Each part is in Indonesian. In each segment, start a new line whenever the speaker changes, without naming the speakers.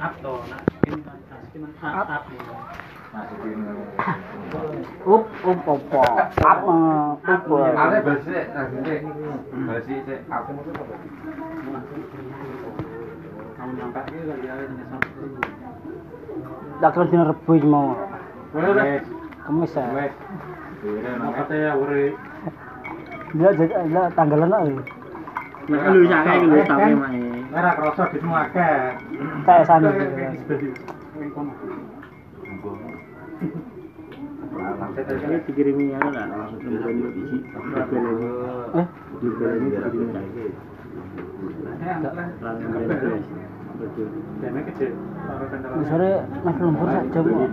Hakdo na. Hap, hap.
masukin
Up, up, opo. Up, eh, up.
Ate
eh.
basi sik, nah sik. Basi sik, aku.
Kamu nyampe gitu lagi ada jenis satu.
Tak kira dina Rebo iki mau.
Wes,
Kemis ya.
wes. Dhewe nang
Kata ya uri.
Dia jadi lah tanggalan Eh, lah. eh.
Nek lu nyake iki wis tapi
mae.
ora krasa ditmu akeh.
Kayak sana.
Ini dikirimi ya kan langsung dikirimi isi.
Eh,
Dikirimi dikirimi.
sore masih lembur sak jam. kok.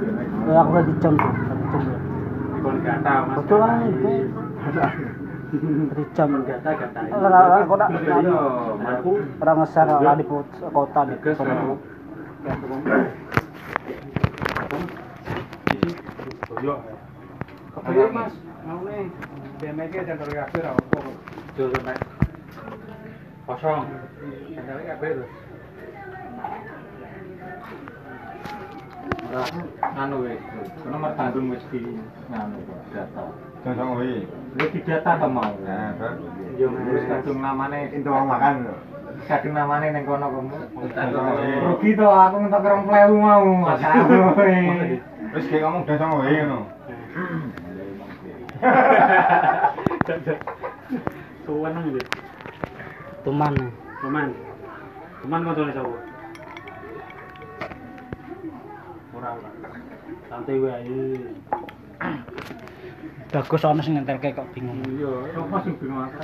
Eh, aku tadi jam tuh, satu jam. ya. Betul kan itu. Satu jam. Ora ora kok tak ora ngeser lah di pot- kota di sore.
mas, mau nih. BMG dan dari kafir apa?
Kosong.
Dan dari kafir.
Ora anu wis. Nomor tandung wis di nganu data.
Kosong kuwi.
Wis di data to mau.
Nah, terus
Yo wis kadung namane
itu wong makan lho.
kadung namane ning kono kono.
Kosong kuwi.
Rugi to aku ngentok 20.000 mau. eh. Masalah.
Wis kayak ngomong kosong kuwi ngono.
Tuan nang gitu.
Tuman. eh.
Cuman, cuman kau tulis apa? Murah lah. Santai wae ayo.
Bagus ana sing ngenterke kok bingung.
Yo, sopo sing bingung aku?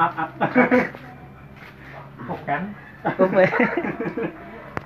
Up up.
Kok kan?
Opo.